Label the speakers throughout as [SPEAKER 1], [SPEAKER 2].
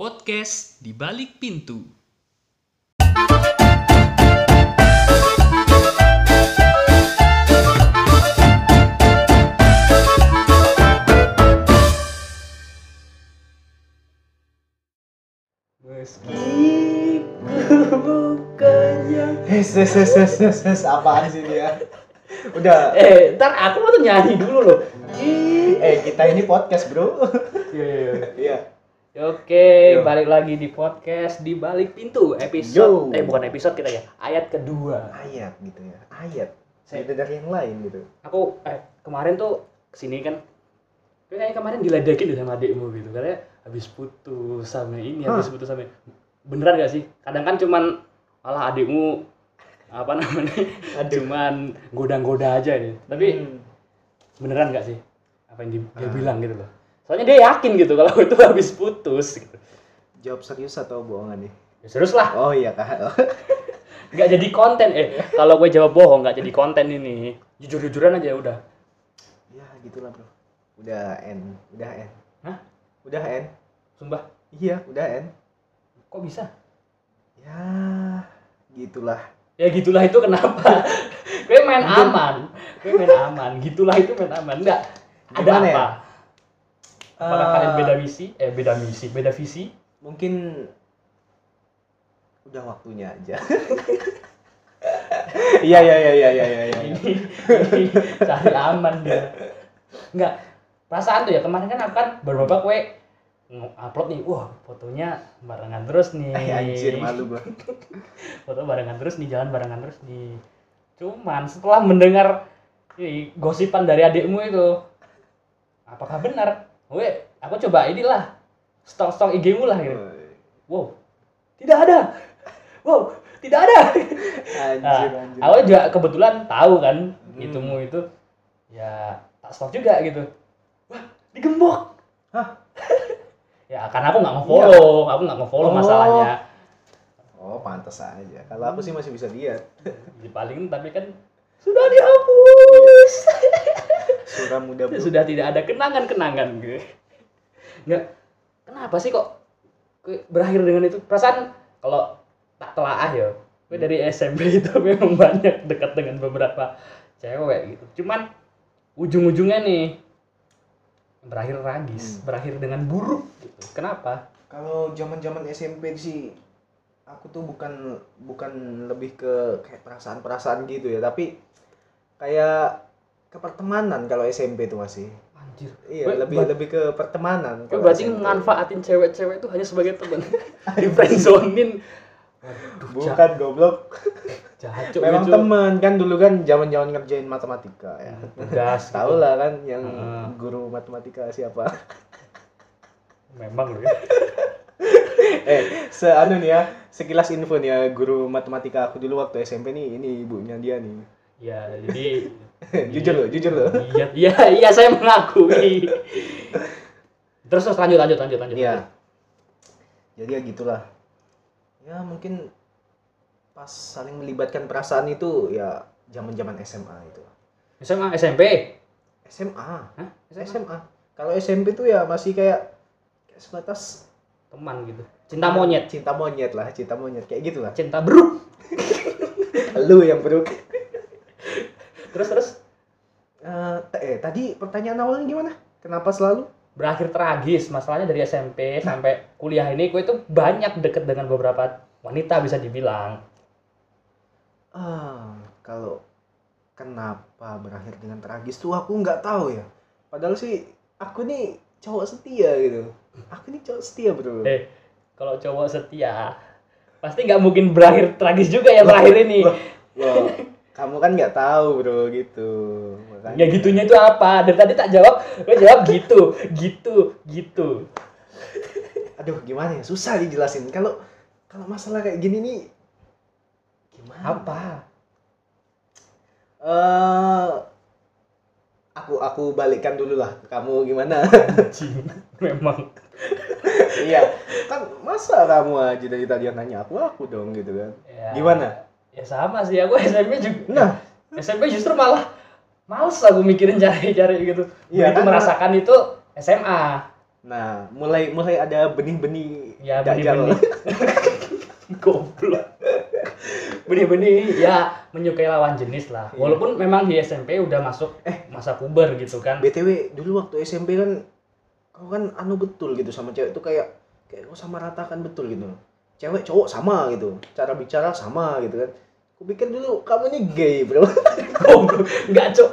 [SPEAKER 1] Podcast di balik pintu.
[SPEAKER 2] Meski ku bukannya
[SPEAKER 3] Hes, hes, hes, hes, hes, hes, apaan sih dia? Udah,
[SPEAKER 2] Eh, ntar aku mau tuh nyanyi dulu loh Ih.
[SPEAKER 3] eh kita ini podcast bro.
[SPEAKER 2] Iya, iya, iya.
[SPEAKER 3] Iya. Yo.
[SPEAKER 2] Oke, balik lagi di podcast di balik pintu
[SPEAKER 3] Yo.
[SPEAKER 2] episode eh bukan episode kita ya ayat kedua.
[SPEAKER 3] Ayat gitu ya, ayat.
[SPEAKER 2] Saya-
[SPEAKER 3] Beda dari yang lain gitu.
[SPEAKER 2] Aku eh kemarin tuh kesini kan, kayaknya kemarin diledekin deh sama adikmu gitu katanya habis putus sama ini
[SPEAKER 3] Hah?
[SPEAKER 2] habis putus sama ini." beneran gak sih? Kadang kan cuman malah adikmu apa namanya cuman godang-goda aja nih. Tapi
[SPEAKER 3] Hmm.
[SPEAKER 2] beneran nggak sih apa yang di- dia
[SPEAKER 3] Ah.
[SPEAKER 2] bilang gitu loh soalnya dia yakin gitu kalau itu habis putus gitu.
[SPEAKER 3] jawab serius atau bohongan nih?
[SPEAKER 2] Ya, serius lah
[SPEAKER 3] Oh iya kak.
[SPEAKER 2] nggak jadi konten eh kalau gue jawab bohong nggak jadi konten ini jujur jujuran aja udah
[SPEAKER 3] ya gitulah bro. Udah n, udah n.
[SPEAKER 2] Hah?
[SPEAKER 3] Udah n.
[SPEAKER 2] sumpah
[SPEAKER 3] Iya, udah n.
[SPEAKER 2] kok bisa
[SPEAKER 3] Ya, gitulah.
[SPEAKER 2] ya gitulah itu kenapa gue main
[SPEAKER 3] Mungkin.
[SPEAKER 2] aman gue main aman gitulah itu main aman nggak ada
[SPEAKER 3] Gimana ya?
[SPEAKER 2] apa apakah
[SPEAKER 3] Eh,
[SPEAKER 2] kalian beda misi eh beda misi beda visi
[SPEAKER 3] Mungkin udah waktunya aja. Iya iya iya iya iya iya. iya.
[SPEAKER 2] ini ini cari aman dia nggak perasaan tuh ya kemarin kan aku kan beberapa kue upload nih wah fotonya barengan terus nih
[SPEAKER 3] Eh, anjir malu gua.
[SPEAKER 2] foto barengan terus nih jalan barengan terus nih cuman setelah mendengar ini gosipan dari adikmu itu apakah benar gue aku coba inilah stok-stok IG mu lah gitu wow tidak ada wow tidak ada
[SPEAKER 3] Anjir, anjir.
[SPEAKER 2] Aku juga kebetulan tahu kan
[SPEAKER 3] Hmm.
[SPEAKER 2] itumu itu ya tak stop juga gitu. Wah digembok.
[SPEAKER 3] Hah?
[SPEAKER 2] ya karena aku nggak nge-follow, aku nggak nge-follow
[SPEAKER 3] Oh.
[SPEAKER 2] masalahnya.
[SPEAKER 3] Oh, pantas aja. Kalau aku sih masih bisa lihat.
[SPEAKER 2] Jadi paling tapi kan sudah dihapus.
[SPEAKER 3] Suram muda bro.
[SPEAKER 2] sudah tidak ada kenangan-kenangan gitu. Nggak, kenapa sih kok ke- berakhir dengan itu? Perasaan kalau tak telaah ya, gue dari SMP itu memang banyak dekat dengan beberapa cewek gitu. Cuman ujung-ujungnya nih berakhir
[SPEAKER 3] Hmm.
[SPEAKER 2] ragis, berakhir dengan buruk gitu. Kenapa?
[SPEAKER 3] Kalau zaman-zaman SMP sih aku tuh bukan bukan lebih ke kayak perasaan-perasaan gitu ya, tapi kayak ke pertemanan kalau SMP tuh masih.
[SPEAKER 2] Anjir.
[SPEAKER 3] Iya,
[SPEAKER 2] Ber-
[SPEAKER 3] lebih
[SPEAKER 2] ber-
[SPEAKER 3] lebih ke pertemanan.
[SPEAKER 2] Gue
[SPEAKER 3] kalau
[SPEAKER 2] berarti
[SPEAKER 3] SMP.
[SPEAKER 2] manfaatin cewek-cewek itu hanya sebagai teman. Di friendzone-in. Waduh, jahat,
[SPEAKER 3] bukan goblok.
[SPEAKER 2] jahat cuk,
[SPEAKER 3] Memang
[SPEAKER 2] lucu.
[SPEAKER 3] teman kan dulu kan zaman-zaman ngerjain matematika ya.
[SPEAKER 2] Tugas gitu.
[SPEAKER 3] Tahu lah kan yang
[SPEAKER 2] Heeh.
[SPEAKER 3] guru matematika siapa?
[SPEAKER 2] Memang loh ya.
[SPEAKER 3] eh seanu nih ya sekilas info nih ya guru matematika aku dulu waktu SMP nih ini ibunya dia nih Eh,
[SPEAKER 2] Ya, jadi
[SPEAKER 3] jujur loh jujur loh
[SPEAKER 2] Iya, iya, iya saya mengakui. terus terus lanjut lanjut lanjut lanjut.
[SPEAKER 3] iya jadi ya gitulah ya mungkin pas saling melibatkan perasaan itu ya zaman zaman SMA itu
[SPEAKER 2] SMA SMP.
[SPEAKER 3] SMA
[SPEAKER 2] Hah? SMA
[SPEAKER 3] SMA kalau SMP tuh ya masih kayak kayak sebatas
[SPEAKER 2] teman gitu. Cinta monyet,
[SPEAKER 3] cinta monyet lah cinta monyet kayak gitulah
[SPEAKER 2] cinta beruk.
[SPEAKER 3] lu yang bro
[SPEAKER 2] Terus terus
[SPEAKER 3] Eh, t- eh tadi pertanyaan awalnya gimana kenapa selalu
[SPEAKER 2] berakhir tragis. Masalahnya dari SMP sampai kuliah ini gue itu banyak deket dengan beberapa wanita bisa dibilang.
[SPEAKER 3] Ah, kalau kenapa berakhir dengan tragis tuh aku nggak tahu ya. Padahal sih aku nih cowok setia gitu. Aku nih cowok setia bro.
[SPEAKER 2] Eh, Kalau cowok setia pasti nggak mungkin berakhir tragis juga yang terakhir ini.
[SPEAKER 3] Loh, loh, kamu kan nggak tahu bro gitu. Makanya.
[SPEAKER 2] Ya gitunya itu apa? Dari tadi tak jawab, gue jawab gitu, gitu, gitu.
[SPEAKER 3] Aduh gimana ya susah dijelasin. Kalau kalau masalah kayak gini nih gimana?
[SPEAKER 2] Apa?
[SPEAKER 3] Eh, aku aku balikkan dulu lah ke kamu gimana?
[SPEAKER 2] Anjing. Memang
[SPEAKER 3] iya kan masa kamu aja dari tadi yang nanya aku aku dong gitu kan?
[SPEAKER 2] Ya,
[SPEAKER 3] Gimana?
[SPEAKER 2] Ya sama sih, aku SMP juga.
[SPEAKER 3] Nah
[SPEAKER 2] SMP justru malah males aku mikirin cari-cari gitu.
[SPEAKER 3] Iya,
[SPEAKER 2] Begitu
[SPEAKER 3] kan?
[SPEAKER 2] merasakan itu SMA.
[SPEAKER 3] Nah, mulai mulai ada benih-benih
[SPEAKER 2] Ya,
[SPEAKER 3] dajjal.
[SPEAKER 2] benih-benih. Goblok. Benih-benih ya menyukai lawan jenis lah.
[SPEAKER 3] Iya. Eh.
[SPEAKER 2] Walaupun memang di SMP udah masuk masa puber gitu kan.
[SPEAKER 3] BTW dulu waktu SMP kan kau kan anu betul gitu sama cewek itu kayak kayak kau sama ratakan betul gitu. Cewek cowok sama gitu, cara bicara sama gitu kan. Kupikir dulu kamu ini gay, Bro.
[SPEAKER 2] Goblok. Enggak, Cuk.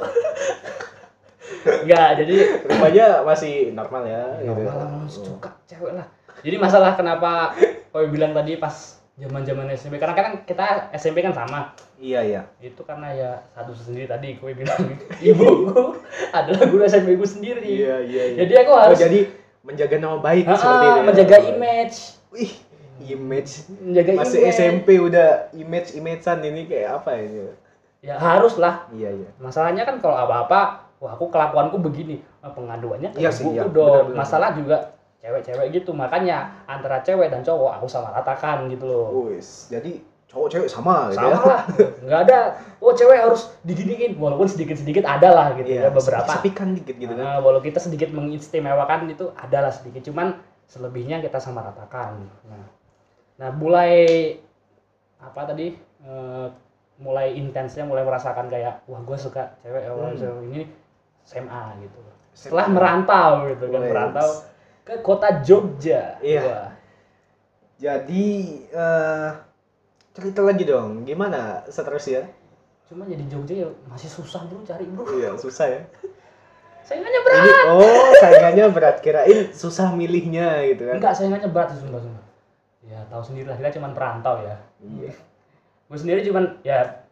[SPEAKER 2] Enggak, jadi
[SPEAKER 3] Rupanya masih normal ya
[SPEAKER 2] Ya
[SPEAKER 3] gitu.
[SPEAKER 2] malah suka cewek lah. Jadi masalah kenapa kau bilang tadi pas zaman-zaman SMP karena kan kita SMP kan sama.
[SPEAKER 3] Iya, iya.
[SPEAKER 2] itu karena ya satu sendiri tadi gue bilang ibuku adalah guru SMP ku sendiri
[SPEAKER 3] Iya, iya, iya.
[SPEAKER 2] jadi aku
[SPEAKER 3] Oh,
[SPEAKER 2] harus
[SPEAKER 3] jadi menjaga nama baik
[SPEAKER 2] Ah,
[SPEAKER 3] seperti itu. ya.
[SPEAKER 2] menjaga image
[SPEAKER 3] Ih, image.
[SPEAKER 2] menjaga
[SPEAKER 3] Masih
[SPEAKER 2] image
[SPEAKER 3] SMP udah image-imagean ini kayak apa ini?
[SPEAKER 2] ya harus lah
[SPEAKER 3] Iya, iya.
[SPEAKER 2] masalahnya kan kalau apa-apa wah aku kelakuanku begini Nah, pengaduannya ke
[SPEAKER 3] Iya sih,
[SPEAKER 2] ibuku
[SPEAKER 3] iya.
[SPEAKER 2] dong
[SPEAKER 3] Benar, benar.
[SPEAKER 2] masalah juga cewek-cewek gitu makanya antara cewek dan cowok aku sama ratakan gitu loh
[SPEAKER 3] Wis, jadi cowok-cewek sama gitu
[SPEAKER 2] sama
[SPEAKER 3] ya.
[SPEAKER 2] lah nggak ada oh cewek harus diginiin walaupun sedikit-sedikit ada lah gitu
[SPEAKER 3] Iya,
[SPEAKER 2] ya beberapa
[SPEAKER 3] sepikan dikit gitu kan.
[SPEAKER 2] Nah, walau kita sedikit mengistimewakan itu adalah sedikit, cuman selebihnya kita sama ratakan. Nah, nah mulai apa tadi? eh, mulai intensnya, mulai merasakan kayak wah gue suka cewek ya, wah,
[SPEAKER 3] Hmm.
[SPEAKER 2] cewek ini SMA gitu. Setelah merantau gitu kan,
[SPEAKER 3] Wes.
[SPEAKER 2] merantau ke kota Jogja.
[SPEAKER 3] Iya.
[SPEAKER 2] Wah,
[SPEAKER 3] Jadi eh cerita lagi dong, gimana ya? seterusnya?
[SPEAKER 2] cuman jadi Jogja ya masih susah bro cari bro.
[SPEAKER 3] Iya, susah ya.
[SPEAKER 2] Saingannya berat.
[SPEAKER 3] Ini oh, saingannya berat kirain susah milihnya gitu kan.
[SPEAKER 2] Enggak, saingannya berat sih sumpah sumpah. Ya tahu sendirilah kita cuman perantau ya.
[SPEAKER 3] Iya.
[SPEAKER 2] gue sendiri cuman ya,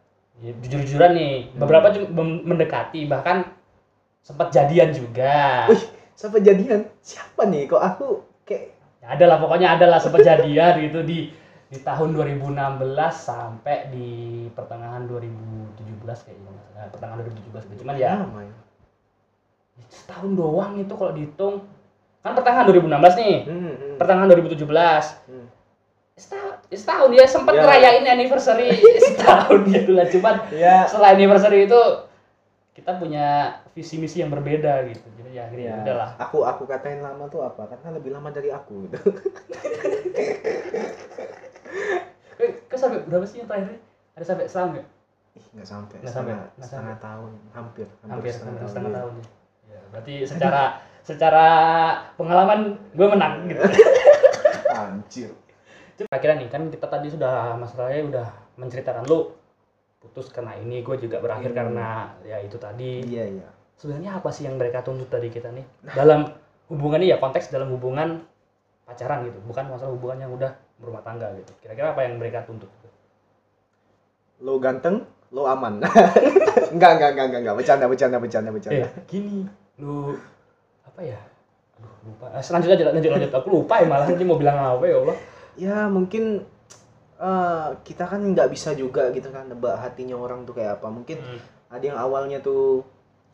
[SPEAKER 2] ya jujur-jujuran nih beberapa cuma mem- mendekati bahkan sempat jadian juga
[SPEAKER 3] Wih, sampai jadian. Siapa nih kok aku kayak
[SPEAKER 2] ya, ada lah pokoknya ada lah sempat jadian gitu di di tahun 2016 sampai di pertengahan 2017 kayaknya nggak salah. pertengahan 2017 gitu. cuman ya
[SPEAKER 3] lama ya.
[SPEAKER 2] setahun doang itu kalau dihitung kan pertengahan 2016 nih
[SPEAKER 3] Hmm, hmm.
[SPEAKER 2] pertengahan 2017
[SPEAKER 3] Hmm.
[SPEAKER 2] setahun, setahun ya sempat
[SPEAKER 3] Ya.
[SPEAKER 2] ngerayain anniversary setahun gitu lah cuman
[SPEAKER 3] Iya.
[SPEAKER 2] setelah anniversary itu kita punya visi misi yang berbeda gitu jadi ya akhirnya
[SPEAKER 3] Iya.
[SPEAKER 2] udahlah
[SPEAKER 3] Aku aku katain lama tuh apa? Karena lebih lama dari aku gitu.
[SPEAKER 2] Eh, kau sampai berapa sih yang terakhir ada sampai setahun nggak
[SPEAKER 3] Ih, nggak sampai.
[SPEAKER 2] Nggak sampai,
[SPEAKER 3] setengah-
[SPEAKER 2] nggak
[SPEAKER 3] setengah tahun, hampir,
[SPEAKER 2] hampir setengah, setengah
[SPEAKER 3] iya.
[SPEAKER 2] tahun ya. Ya, berarti secara secara pengalaman gue menang gitu
[SPEAKER 3] Iya. Anjir.
[SPEAKER 2] akhirnya nih kan kita tadi sudah masalahnya udah menceritakan lu putus karena ini gue juga berakhir
[SPEAKER 3] Hmm.
[SPEAKER 2] karena ya itu tadi
[SPEAKER 3] Iya, iya.
[SPEAKER 2] sebenarnya apa sih yang mereka tuntut dari kita nih dalam hubungan ini ya konteks dalam hubungan pacaran gitu bukan masalah hubungan yang udah berumah tangga gitu kira-kira apa yang mereka tuntut
[SPEAKER 3] lo ganteng, lo aman. enggak, enggak, enggak, enggak, enggak. Bercanda, bercanda, bercanda, bercanda.
[SPEAKER 2] eh gini lu apa ya aduh lupa Eh, selanjutnya aja, lanjut lanjut aku lupa ya malah nanti mau bilang apa ya Allah
[SPEAKER 3] Ya, mungkin eh, kita kan nggak bisa juga gitu kan nebak hatinya orang tuh kayak apa. Mungkin
[SPEAKER 2] Hmm.
[SPEAKER 3] ada yang awalnya tuh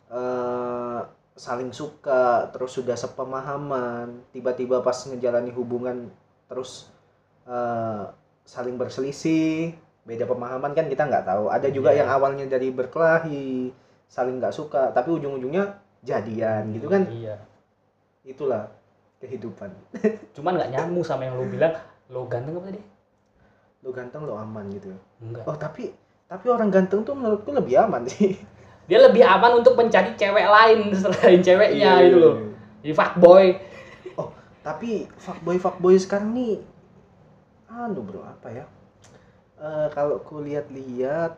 [SPEAKER 3] eh saling suka, terus sudah sepemahaman, tiba-tiba pas ngejalani hubungan terus eh, saling berselisih, beda pemahaman kan kita nggak tahu. Ada juga yang
[SPEAKER 2] Iya.
[SPEAKER 3] awalnya dari berkelahi, saling nggak suka, tapi ujung-ujungnya jadian gitu kan.
[SPEAKER 2] iya
[SPEAKER 3] itulah kehidupan
[SPEAKER 2] cuman nggak nyambung sama yang lu bilang lu ganteng apa tadi
[SPEAKER 3] lo ganteng lo aman gitu
[SPEAKER 2] enggak
[SPEAKER 3] oh tapi tapi orang ganteng tuh menurutku lebih aman sih
[SPEAKER 2] dia lebih aman untuk mencari cewek lain selain ceweknya
[SPEAKER 3] Iya,
[SPEAKER 2] gitu
[SPEAKER 3] iya,
[SPEAKER 2] loh
[SPEAKER 3] iya.
[SPEAKER 2] jadi fuckboy
[SPEAKER 3] tapi fuckboy fuckboy sekarang nih anu bro apa ya Eh kalau ku lihat-lihat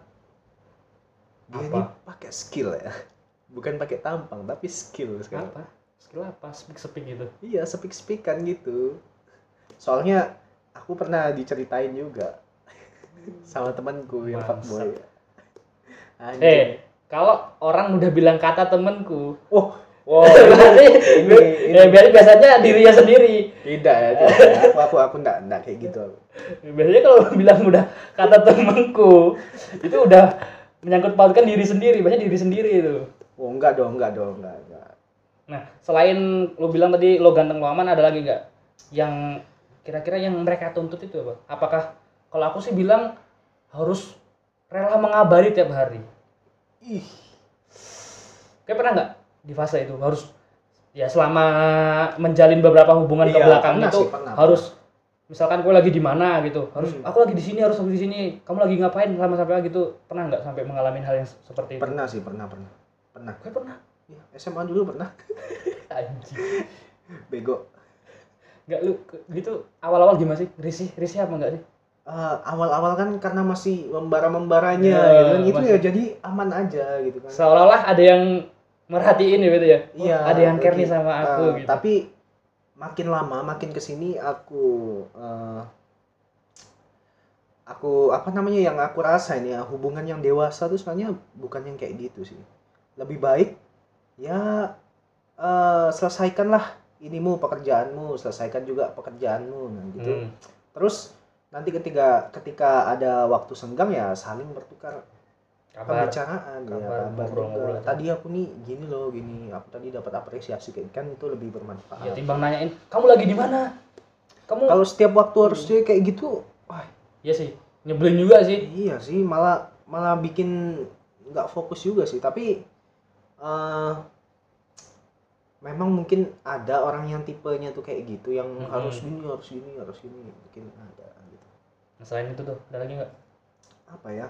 [SPEAKER 3] dia
[SPEAKER 2] Apa?
[SPEAKER 3] ini pakai skill ya bukan pakai tampang tapi skill sekarang
[SPEAKER 2] apa skill apa speak speak gitu
[SPEAKER 3] iya sepik sepikan gitu soalnya aku pernah diceritain juga sama temanku yang
[SPEAKER 2] Bangsat.
[SPEAKER 3] fuckboy Anjing.
[SPEAKER 2] eh kalau orang udah bilang kata temenku
[SPEAKER 3] Wow,
[SPEAKER 2] Berarti
[SPEAKER 3] ini, ini.
[SPEAKER 2] ya, biar- biasanya dirinya sendiri.
[SPEAKER 3] tidak ya, tidak. aku aku aku enggak enggak kayak gitu. aku.
[SPEAKER 2] Biasanya kalau bilang udah kata temanku itu udah menyangkut pautkan diri sendiri, biasanya diri sendiri itu.
[SPEAKER 3] Oh, enggak dong, enggak dong, enggak, enggak.
[SPEAKER 2] Nah, selain lo bilang tadi lo ganteng lo aman ada lagi nggak yang kira-kira yang mereka tuntut itu apa? Apakah kalau aku sih bilang harus rela mengabari tiap hari.
[SPEAKER 3] Ih,
[SPEAKER 2] Kayak pernah nggak di fase itu harus ya selama menjalin beberapa hubungan ke
[SPEAKER 3] Iya,
[SPEAKER 2] belakang
[SPEAKER 3] pernah
[SPEAKER 2] itu
[SPEAKER 3] sih, pernah.
[SPEAKER 2] harus misalkan gue lagi di mana gitu harus
[SPEAKER 3] Hmm.
[SPEAKER 2] aku lagi di sini harus aku di sini kamu lagi ngapain sama sampai gitu pernah nggak sampai mengalami hal yang se- seperti itu
[SPEAKER 3] pernah sih pernah pernah pernah
[SPEAKER 2] gue pernah
[SPEAKER 3] Iya, SMA dulu pernah
[SPEAKER 2] anjing
[SPEAKER 3] bego
[SPEAKER 2] nggak lu ke- gitu awal-awal gimana sih risih risih apa enggak sih
[SPEAKER 3] Eh, awal-awal kan karena masih membara membaranya
[SPEAKER 2] Ya,
[SPEAKER 3] gitu kan itu
[SPEAKER 2] masih-
[SPEAKER 3] ya jadi aman aja gitu kan
[SPEAKER 2] seolah-olah ada yang merhatiin ya gitu ya Oh,
[SPEAKER 3] Iya,
[SPEAKER 2] ada yang care
[SPEAKER 3] lagi.
[SPEAKER 2] nih sama aku
[SPEAKER 3] Eh,
[SPEAKER 2] gitu
[SPEAKER 3] tapi makin lama makin kesini aku eh, aku apa namanya yang aku rasain ya hubungan yang dewasa tuh sebenarnya bukan yang kayak gitu sih lebih baik ya eh, selesaikanlah inimu pekerjaanmu selesaikan juga pekerjaanmu nah gitu
[SPEAKER 2] Hmm.
[SPEAKER 3] terus nanti ketika ketika ada waktu senggang ya saling bertukar
[SPEAKER 2] kabar
[SPEAKER 3] pembicaraan ya,
[SPEAKER 2] Kabar,
[SPEAKER 3] kabar
[SPEAKER 2] ngobrol-ngobrol
[SPEAKER 3] juga.
[SPEAKER 2] aja.
[SPEAKER 3] tadi aku nih gini loh gini aku tadi dapat apresiasi kayak kan itu lebih
[SPEAKER 2] ya
[SPEAKER 3] bermanfaat
[SPEAKER 2] timbang nanyain kamu lagi di mana kamu
[SPEAKER 3] kalau setiap
[SPEAKER 2] Hmm.
[SPEAKER 3] waktu harusnya kayak gitu wah
[SPEAKER 2] ya sih nyebelin juga sih
[SPEAKER 3] iya sih malah malah bikin nggak fokus juga sih tapi eh memang mungkin ada orang yang tipenya tuh kayak gitu yang
[SPEAKER 2] Mm-mm.
[SPEAKER 3] harus gini harus gini harus gini mungkin ada gitu
[SPEAKER 2] Nah, selain itu tuh ada lagi nggak
[SPEAKER 3] apa ya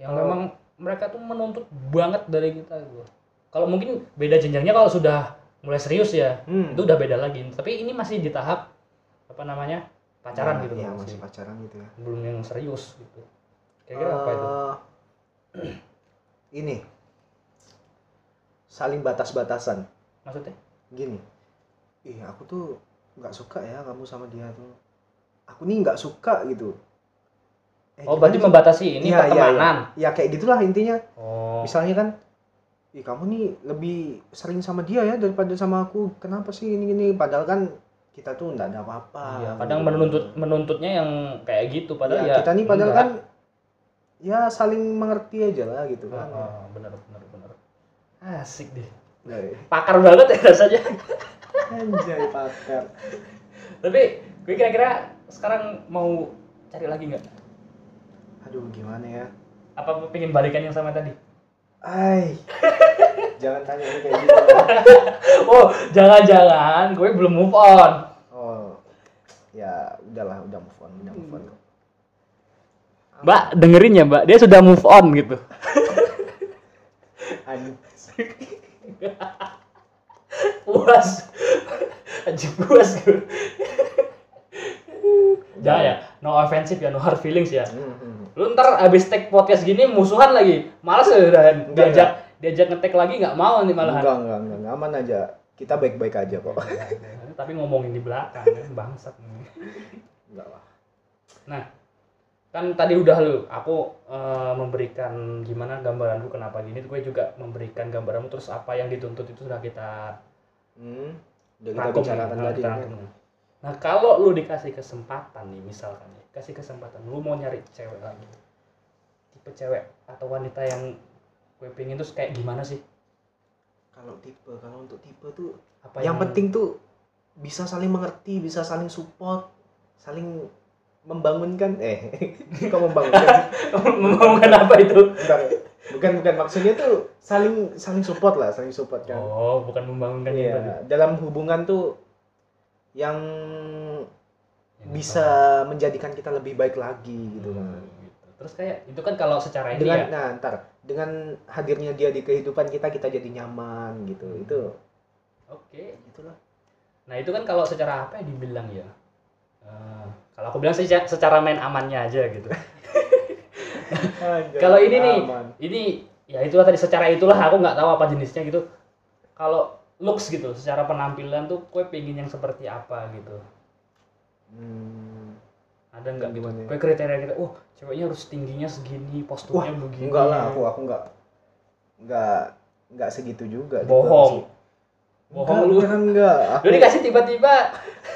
[SPEAKER 2] yang
[SPEAKER 3] Kalau-
[SPEAKER 2] memang mereka tuh menuntut banget dari kita gua. Kalau mungkin beda jenjangnya kalau sudah mulai serius ya,
[SPEAKER 3] Hmm.
[SPEAKER 2] itu udah beda lagi. Tapi ini masih di tahap apa namanya? pacaran
[SPEAKER 3] Nah,
[SPEAKER 2] gitu
[SPEAKER 3] iya,
[SPEAKER 2] loh,
[SPEAKER 3] masih
[SPEAKER 2] masih.
[SPEAKER 3] pacaran gitu ya
[SPEAKER 2] Belum yang serius gitu. Kira-kira apa itu?
[SPEAKER 3] Eh, Ini saling batas-batasan.
[SPEAKER 2] Maksudnya?
[SPEAKER 3] eh, Gini, ih aku tuh nggak suka ya kamu sama dia tuh. Aku nih nggak suka gitu. Eh,
[SPEAKER 2] Oh,
[SPEAKER 3] gimana
[SPEAKER 2] berarti
[SPEAKER 3] sih?
[SPEAKER 2] membatasi ini
[SPEAKER 3] Iya, iya,
[SPEAKER 2] pertemanan.
[SPEAKER 3] Ya kayak gitulah intinya.
[SPEAKER 2] Oh.
[SPEAKER 3] Misalnya kan, ih kamu nih lebih sering sama dia ya daripada sama aku. Kenapa sih ini gini? Padahal kan kita tuh nggak ada apa-apa.
[SPEAKER 2] Iya, kadang menuntut menuntutnya yang kayak gitu padahal
[SPEAKER 3] Ya,
[SPEAKER 2] ya.
[SPEAKER 3] kita nih padahal
[SPEAKER 2] enggak.
[SPEAKER 3] kan ya saling mengerti aja lah gitu kan.
[SPEAKER 2] Oh, oh, benar benar benar. Asik deh.
[SPEAKER 3] Nah,
[SPEAKER 2] Pakar banget ya rasanya.
[SPEAKER 3] Anjay pakar.
[SPEAKER 2] Tapi gue kira-kira sekarang mau cari lagi nggak?
[SPEAKER 3] Aduh gimana ya?
[SPEAKER 2] apa pengen balikan yang sama tadi?
[SPEAKER 3] Ay. Jangan tanya ini kayak gitu.
[SPEAKER 2] Oh, jangan-jangan gue belum move on.
[SPEAKER 3] Oh. Ya udahlah, udah move on, udah move on. kok.
[SPEAKER 2] Mbak, dengerin ya, Mbak. Dia sudah move on gitu.
[SPEAKER 3] Aduh.
[SPEAKER 2] Puas. Anjing puas gue. Jangan ya, no offensive ya, no hard feelings ya.
[SPEAKER 3] Hmm.
[SPEAKER 2] Lu ntar abis tag podcast gini musuhan lagi. Males ya udahan.
[SPEAKER 3] Enggak,
[SPEAKER 2] diajak diajak ngetek lagi nggak mau nih
[SPEAKER 3] Enggak,
[SPEAKER 2] malahan.
[SPEAKER 3] enggak, enggak, enggak. aman aja. Kita baik-baik aja kok.
[SPEAKER 2] Tapi ngomongin di belakang ya, bangsat.
[SPEAKER 3] Enggak lah.
[SPEAKER 2] Nah, kan tadi udah lu, aku eh, memberikan gimana gambaranku kenapa gini, gue juga memberikan gambaranmu terus apa yang dituntut itu sudah kita
[SPEAKER 3] Hmm. Udah kita
[SPEAKER 2] rangkum.
[SPEAKER 3] bicarakan
[SPEAKER 2] Nah,
[SPEAKER 3] tadi.
[SPEAKER 2] kita rangkum. Nah, kalau lu dikasih kesempatan nih misalkan ya, kasih kesempatan lu mau nyari cewek lagi. Tipe cewek atau wanita yang gue pengen terus kayak gimana sih?
[SPEAKER 3] Kalau tipe, kalau untuk tipe tuh
[SPEAKER 2] Apa
[SPEAKER 3] yang penting tuh bisa saling mengerti, bisa saling support, saling membangunkan eh kok membangunkan
[SPEAKER 2] membangun apa itu?
[SPEAKER 3] Bentar. ya. bukan bukan maksudnya tuh saling saling support lah saling support kan
[SPEAKER 2] Oh, bukan gitu. membangunkan
[SPEAKER 3] Iya,
[SPEAKER 2] yang tadi.
[SPEAKER 3] dalam hubungan tuh yang bisa menjadikan kita lebih baik lagi gitu kan
[SPEAKER 2] Hmm, gitu. Terus kayak itu kan kalau secara ini
[SPEAKER 3] dengan
[SPEAKER 2] ya.
[SPEAKER 3] nah ntar dengan hadirnya dia di kehidupan kita kita jadi nyaman gitu
[SPEAKER 2] Hmm.
[SPEAKER 3] itu
[SPEAKER 2] Oke.
[SPEAKER 3] itulah
[SPEAKER 2] Nah itu kan kalau secara apa ya dibilang ya? Eh, kalau aku bilang secara, secara main amannya aja gitu. Kalau ini nih,
[SPEAKER 3] Aman.
[SPEAKER 2] ini ya itulah tadi secara itulah aku nggak tahu apa jenisnya gitu. Kalau looks gitu, secara penampilan tuh kue pengen yang seperti apa gitu.
[SPEAKER 3] Hmm,
[SPEAKER 2] Ada nggak gitu?
[SPEAKER 3] Gimana ya?
[SPEAKER 2] Kue kriteria gitu, oh ceweknya harus tingginya segini, posturnya begini.
[SPEAKER 3] enggak lah aku aku enggak enggak enggak segitu juga tipe
[SPEAKER 2] Bohong.
[SPEAKER 3] sih.
[SPEAKER 2] Bohong
[SPEAKER 3] Enggak,
[SPEAKER 2] lu.
[SPEAKER 3] beneran enggak
[SPEAKER 2] Lu dikasih tiba-tiba.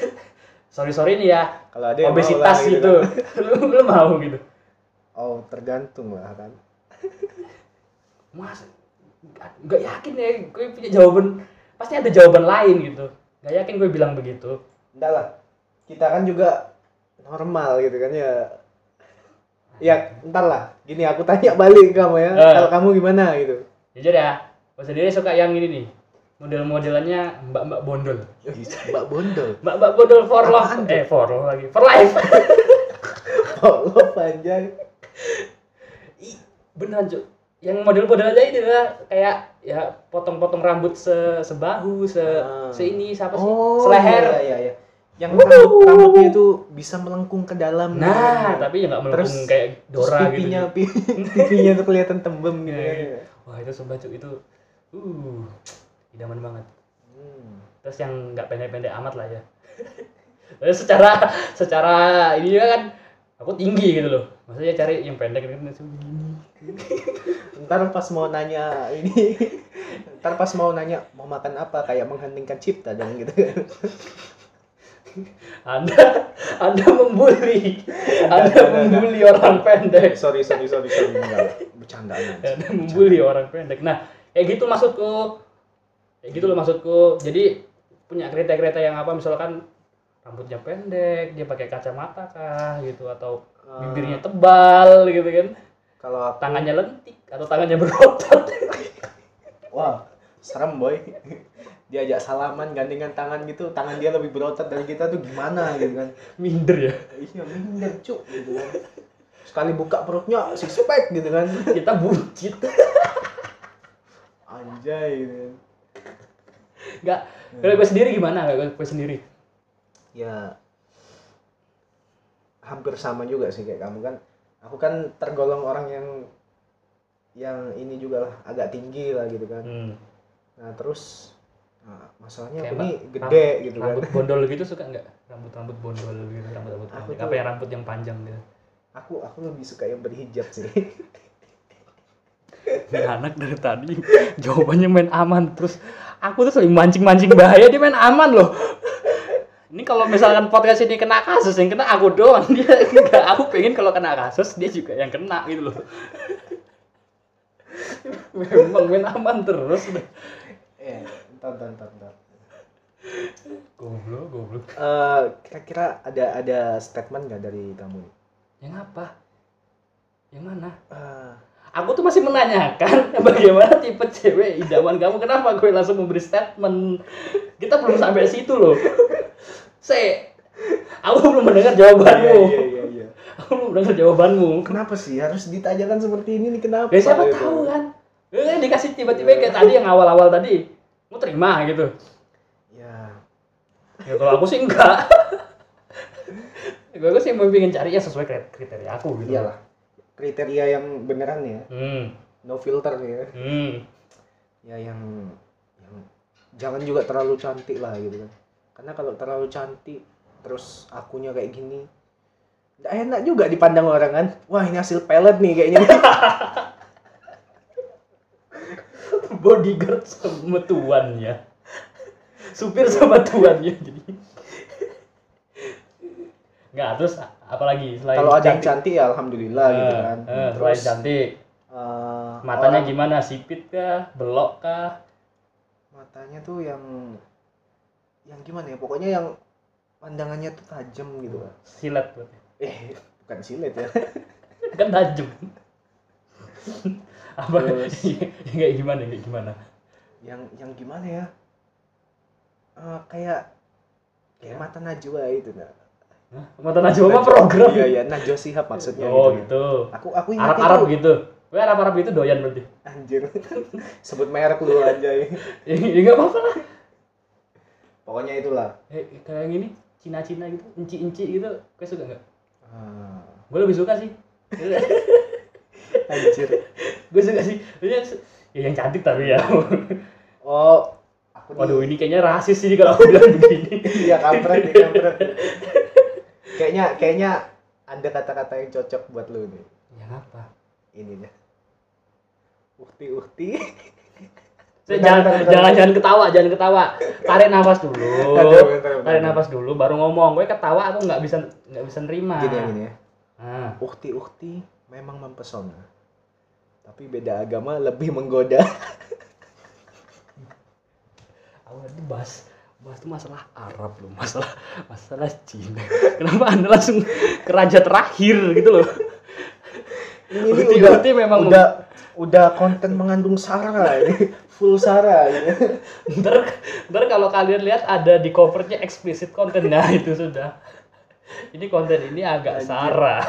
[SPEAKER 2] sorry sorry nih ya,
[SPEAKER 3] Aku- kalau ada yang mau lah
[SPEAKER 2] obesitas
[SPEAKER 3] gitu
[SPEAKER 2] gitu. lu, lu mau gitu.
[SPEAKER 3] Oh, tergantung lah kan.
[SPEAKER 2] mas nggak- nggak yakin ya gue punya jawaban pasti ada jawaban lain gitu nggak yakin gue bilang begitu
[SPEAKER 3] Enggak lah. Kita kan juga normal gitu kan ya. Ya, entar lah. Gini aku tanya balik ke kamu ya.
[SPEAKER 2] Eh.
[SPEAKER 3] Kalau kamu gimana gitu.
[SPEAKER 2] jujur ya gue sendiri suka yang ini nih model-modelannya mbak-mbak bondol
[SPEAKER 3] Mbak Bondol.
[SPEAKER 2] mbak-mbak Ya, bondol for love
[SPEAKER 3] Apaan tuh?
[SPEAKER 2] eh for love lagi for life
[SPEAKER 3] Kalau panjang.
[SPEAKER 2] Ih, beneran cuy yang model model aja ini lah kayak ya potong-potong rambut se sebahu se
[SPEAKER 3] Ah.
[SPEAKER 2] Eh, seini siapa sih
[SPEAKER 3] Oh,
[SPEAKER 2] seleher
[SPEAKER 3] Iya, iya, iya. Yang
[SPEAKER 2] Wuhu.
[SPEAKER 3] rambut- rambutnya itu bisa melengkung ke dalam.
[SPEAKER 2] nah tapi ya nggak melengkung
[SPEAKER 3] iya. Terus-
[SPEAKER 2] kayak
[SPEAKER 3] Terus
[SPEAKER 2] Dora gitu
[SPEAKER 3] pipinya, gitu. pipinya tuh kelihatan tembem gitu.
[SPEAKER 2] Iya,
[SPEAKER 3] kan.
[SPEAKER 2] iya. wah itu sumpah cuy itu uh idaman banget
[SPEAKER 3] Hmm.
[SPEAKER 2] terus yang nggak pendek-pendek amat lah ya Eh, secara secara ini juga kan aku tinggi gitu loh maksudnya cari yang pendek gitu kan begini
[SPEAKER 3] Ntar pas mau nanya ini, ntar pas mau nanya mau makan apa kayak menghentingkan cipta dong gitu. kan.
[SPEAKER 2] anda anda membuli anda
[SPEAKER 3] Enggak, enggak,
[SPEAKER 2] membuli orang pendek
[SPEAKER 3] Eh, sorry sorry sorry sorry enggak Eh, bercandaan. aja.
[SPEAKER 2] Ada membuli orang pendek. Nah, kayak gitu maksudku. Kayak gitu loh maksudku. Jadi punya kriteria-kriteria yang apa misalkan rambutnya pendek, dia pakai kacamata kah gitu atau
[SPEAKER 3] Eh,
[SPEAKER 2] bibirnya tebal gitu kan.
[SPEAKER 3] kalau aku-
[SPEAKER 2] Tangannya lentik atau tangannya berotot.
[SPEAKER 3] wah serem boy. Diajak salaman gandengan tangan gitu, tangan dia lebih berotot dari kita tuh gimana gitu kan.
[SPEAKER 2] Minder ya.
[SPEAKER 3] Iya minder cuk gitu kan. Sekali buka perutnya six pack gitu kan.
[SPEAKER 2] Kita buncit.
[SPEAKER 3] Anjay gitu kan. Hmm.
[SPEAKER 2] Enggak. Kalau gue sendiri gimana? Kalau gue sendiri.
[SPEAKER 3] ya hampir sama juga sih kayak kamu kan aku kan tergolong orang yang yang ini juga lah agak tinggi lah gitu kan
[SPEAKER 2] Hmm.
[SPEAKER 3] nah terus nah, masalahnya
[SPEAKER 2] Kayak
[SPEAKER 3] aku ini
[SPEAKER 2] rambut-
[SPEAKER 3] gede gitu kan
[SPEAKER 2] Rambut bondol gitu suka enggak? Rambut-rambut bondol gitu, rambut-rambut
[SPEAKER 3] Aku
[SPEAKER 2] pendek.
[SPEAKER 3] tuh-
[SPEAKER 2] Apa yang rambut yang panjang gitu?
[SPEAKER 3] aku aku lebih suka yang berhijab sih
[SPEAKER 2] Ini anak dari tadi jawabannya main aman terus aku tuh sering mancing-mancing bahaya dia main aman loh. Ini kalau misalkan podcast ini kena kasus yang kena aku doang dia enggak aku pengen kalau kena kasus dia juga yang kena gitu loh. Memang main aman terus.
[SPEAKER 3] eh entar entar entar, entar.
[SPEAKER 2] Goblok, goblok.
[SPEAKER 3] Eh, kira-kira ada ada statement nggak dari kamu
[SPEAKER 2] Yang apa? Yang mana?
[SPEAKER 3] Eh,
[SPEAKER 2] Aku tuh masih menanyakan bagaimana tipe cewek idaman kamu. Kenapa gue langsung memberi statement? Kita belum sampai situ loh. Se, aku belum mendengar
[SPEAKER 3] iya
[SPEAKER 2] jawabanmu.
[SPEAKER 3] iya iya iya.
[SPEAKER 2] Aku belum mendengar jawabannya
[SPEAKER 3] kenapa sih harus ditanyakan seperti ini nih kenapa
[SPEAKER 2] Ya siapa
[SPEAKER 3] gitu?
[SPEAKER 2] tahu kan? Eh, dikasih tiba-tiba kayak tadi yang awal-awal tadi. Mau terima gitu.
[SPEAKER 3] ya
[SPEAKER 2] Ya kalau aku sih enggak. gue sih mau pengen cari yang sesuai krit- kriteria aku gitu.
[SPEAKER 3] iyalah kriteria yang beneran ya
[SPEAKER 2] Hmm,
[SPEAKER 3] no filter ya
[SPEAKER 2] hmm.
[SPEAKER 3] ya yang, yang jangan juga terlalu cantik lah gitu kan karena kalau terlalu cantik terus akunya kayak gini nggak enak juga dipandang orang kan wah ini hasil pelet nih kayaknya
[SPEAKER 2] bodyguard sama tuannya supir sama tuannya jadi nggak terus a- apalagi selain
[SPEAKER 3] kalau ada yang
[SPEAKER 2] cantik
[SPEAKER 3] cantik ya alhamdulillah gitu
[SPEAKER 2] Eh,
[SPEAKER 3] kan
[SPEAKER 2] eh,
[SPEAKER 3] terus
[SPEAKER 2] selain cantik
[SPEAKER 3] eh,
[SPEAKER 2] matanya
[SPEAKER 3] orang-
[SPEAKER 2] gimana sipit kah belok kah
[SPEAKER 3] matanya tuh yang yang gimana ya pokoknya yang pandangannya tuh tajam gitu kan
[SPEAKER 2] silet berarti.
[SPEAKER 3] eh bukan silet ya
[SPEAKER 2] kan tajam apa
[SPEAKER 3] Terus.
[SPEAKER 2] yang kayak gimana kayak gimana
[SPEAKER 3] yang yang gimana ya Eh, kayak kayak
[SPEAKER 2] Ya.
[SPEAKER 3] mata Najwa itu nah
[SPEAKER 2] Hah? mata najwa mah program
[SPEAKER 3] Iya iya, Najwa Shihab maksudnya
[SPEAKER 2] oh
[SPEAKER 3] gitu.
[SPEAKER 2] gitu
[SPEAKER 3] Aku aku ingat
[SPEAKER 2] arab
[SPEAKER 3] itu.
[SPEAKER 2] arab gitu gue arab arab itu doyan berarti
[SPEAKER 3] Anjir. Sebut merek lu anjay.
[SPEAKER 2] ya ya nggak apa-apa lah
[SPEAKER 3] Pokoknya itulah.
[SPEAKER 2] Eh, kayak yang ini Cina-Cina gitu, inci-inci gitu, gue suka nggak?
[SPEAKER 3] Ah,
[SPEAKER 2] Gue lebih suka sih.
[SPEAKER 3] anjir.
[SPEAKER 2] gue suka sih. Maksudnya se- Ya, yang cantik tapi ya.
[SPEAKER 3] Oh, aku nih-
[SPEAKER 2] Waduh, ini kayaknya rasis sih kalau aku bilang begini.
[SPEAKER 3] Iya kampret nih, kampret. kayaknya kayaknya ada kata-kata yang cocok buat lu nih.
[SPEAKER 2] Yang apa?
[SPEAKER 3] Ininya. Uhti-uhti. Bentar,
[SPEAKER 2] Saya jangan,
[SPEAKER 3] bentar, bentar.
[SPEAKER 2] jangan, jangan ketawa, jangan ketawa. Tarik nafas dulu.
[SPEAKER 3] Bentar, bentar,
[SPEAKER 2] Oh,
[SPEAKER 3] bentar, bentar.
[SPEAKER 2] Tarik nafas dulu, baru ngomong. Gue ketawa, aku nggak bisa nggak bisa nerima.
[SPEAKER 3] Gini ya, gini ya.
[SPEAKER 2] Ah.
[SPEAKER 3] Uhti-uhti memang mempesona. Tapi beda agama lebih menggoda.
[SPEAKER 2] Awal itu bahas bahas itu masalah Arab loh, masalah masalah Cina. Kenapa anda langsung ke raja terakhir gitu loh?
[SPEAKER 3] ini
[SPEAKER 2] Uhti-
[SPEAKER 3] udah,
[SPEAKER 2] uhti memang
[SPEAKER 3] udah udah konten mengandung sara ini full sara ini
[SPEAKER 2] ntar ntar kalau kalian lihat ada di covernya eksplisit konten nah itu sudah ini konten ini agak
[SPEAKER 3] Anjir.
[SPEAKER 2] sara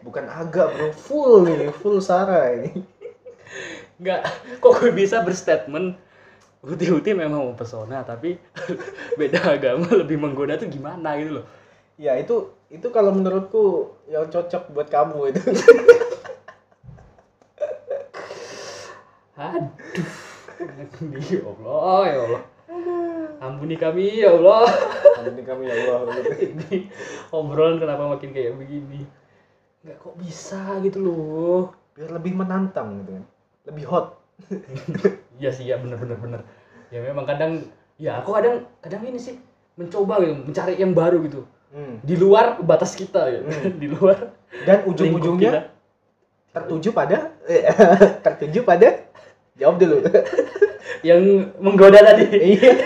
[SPEAKER 3] bukan agak bro full ini full sara ini
[SPEAKER 2] nggak kok gue bisa berstatement Uti-uti memang mempesona tapi beda agama lebih menggoda tuh gimana gitu loh.
[SPEAKER 3] ya itu itu kalau menurutku yang cocok buat kamu itu
[SPEAKER 2] Aduh. Ya Allah, ya Allah. Ampuni kami ya Allah.
[SPEAKER 3] ampuni kami ya Allah
[SPEAKER 2] Ini obrolan kenapa makin kayak begini? Nggak kok bisa gitu loh.
[SPEAKER 3] biar lebih menantang gitu kan lebih hot
[SPEAKER 2] Iya sih, ya bener bener bener. Ya memang kadang, ya aku kadang kadang ini sih mencoba gitu, mencari yang baru gitu
[SPEAKER 3] Hmm.
[SPEAKER 2] di luar batas kita gitu,
[SPEAKER 3] Hmm.
[SPEAKER 2] di luar
[SPEAKER 3] dan
[SPEAKER 2] lingkup kita.
[SPEAKER 3] ujung-ujungnya tertuju pada eh, tertuju pada jawab dulu
[SPEAKER 2] yang menggoda tadi.
[SPEAKER 3] iya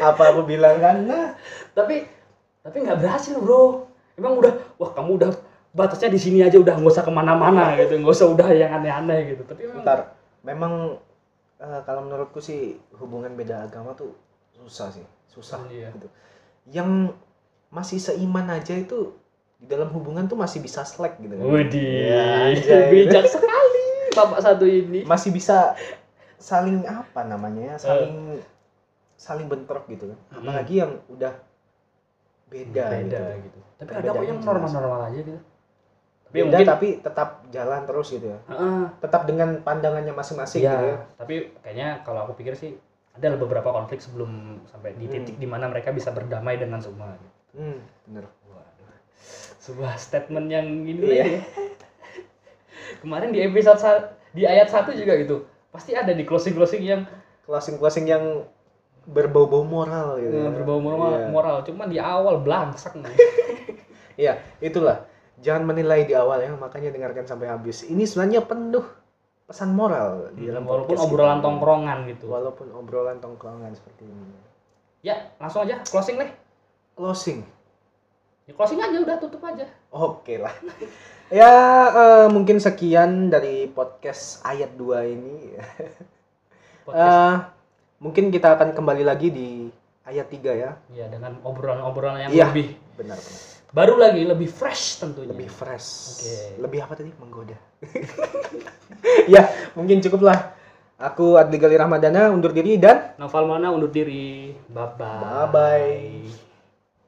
[SPEAKER 3] apa aku bilang kan nah
[SPEAKER 2] tapi tapi nggak berhasil bro. Emang udah, wah kamu udah batasnya di sini aja udah nggak usah kemana-mana gitu, nggak usah udah yang aneh-aneh gitu. Tapi memang
[SPEAKER 3] Bentar, memang eh, kalau menurutku sih hubungan beda agama tuh susah sih, susah
[SPEAKER 2] Iya.
[SPEAKER 3] gitu. Yang masih seiman aja itu di dalam hubungan tuh masih bisa slack gitu kan. Ya,
[SPEAKER 2] Widih,
[SPEAKER 3] anjay.
[SPEAKER 2] bijak sekali bapak satu ini.
[SPEAKER 3] Masih bisa saling apa namanya? ya, Saling
[SPEAKER 2] Eh.
[SPEAKER 3] saling bentrok gitu kan. Apalagi yang udah beda,
[SPEAKER 2] Hmm. Beda
[SPEAKER 3] gitu.
[SPEAKER 2] gitu. Tapi ada kok yang normal-normal aja gitu. Tapi
[SPEAKER 3] Beda
[SPEAKER 2] mungkin
[SPEAKER 3] tapi tetap jalan terus gitu ya.
[SPEAKER 2] Heeh.
[SPEAKER 3] Tetap dengan pandangannya masing-masing
[SPEAKER 2] Iya,
[SPEAKER 3] gitu ya.
[SPEAKER 2] tapi kayaknya kalau aku pikir sih ada beberapa konflik sebelum sampai di
[SPEAKER 3] Hmm.
[SPEAKER 2] titik dimana mereka bisa berdamai dengan semua. gitu.
[SPEAKER 3] Hmm, bener.
[SPEAKER 2] Waduh, sebuah statement yang ini
[SPEAKER 3] Iya.
[SPEAKER 2] nih. Kemarin di episode sa- di ayat 1 juga gitu. Pasti ada di closing-closing yang
[SPEAKER 3] closing-closing yang berbau-bau moral gitu.
[SPEAKER 2] eh,
[SPEAKER 3] ya.
[SPEAKER 2] berbau moral,
[SPEAKER 3] Iya.
[SPEAKER 2] moral. Cuman di awal blangsak nih.
[SPEAKER 3] Iya, itulah. Jangan menilai di awal ya, makanya dengarkan sampai habis. Ini sebenarnya penuh pesan moral di dalam
[SPEAKER 2] Hmm, Walaupun
[SPEAKER 3] podcast
[SPEAKER 2] obrolan
[SPEAKER 3] kita.
[SPEAKER 2] tongkrongan gitu.
[SPEAKER 3] Walaupun obrolan tongkrongan seperti ini.
[SPEAKER 2] Ya, langsung aja closing nih.
[SPEAKER 3] Closing.
[SPEAKER 2] Ya, closing aja udah tutup aja.
[SPEAKER 3] Oke lah. ya, eh, mungkin sekian dari podcast ayat 2 ini.
[SPEAKER 2] Podcast.
[SPEAKER 3] Eh, mungkin kita akan kembali lagi di ayat 3 ya.
[SPEAKER 2] ya dengan obrolan-obrolan yang
[SPEAKER 3] iya.
[SPEAKER 2] lebih
[SPEAKER 3] Benar, benar.
[SPEAKER 2] baru lagi, lebih fresh tentunya.
[SPEAKER 3] lebih fresh
[SPEAKER 2] Oke.
[SPEAKER 3] lebih apa tadi menggoda ya mungkin cukuplah aku Adli Gali Ramadana undur diri dan
[SPEAKER 2] Noval Maulana undur diri. Bye bye.
[SPEAKER 3] Bye-bye.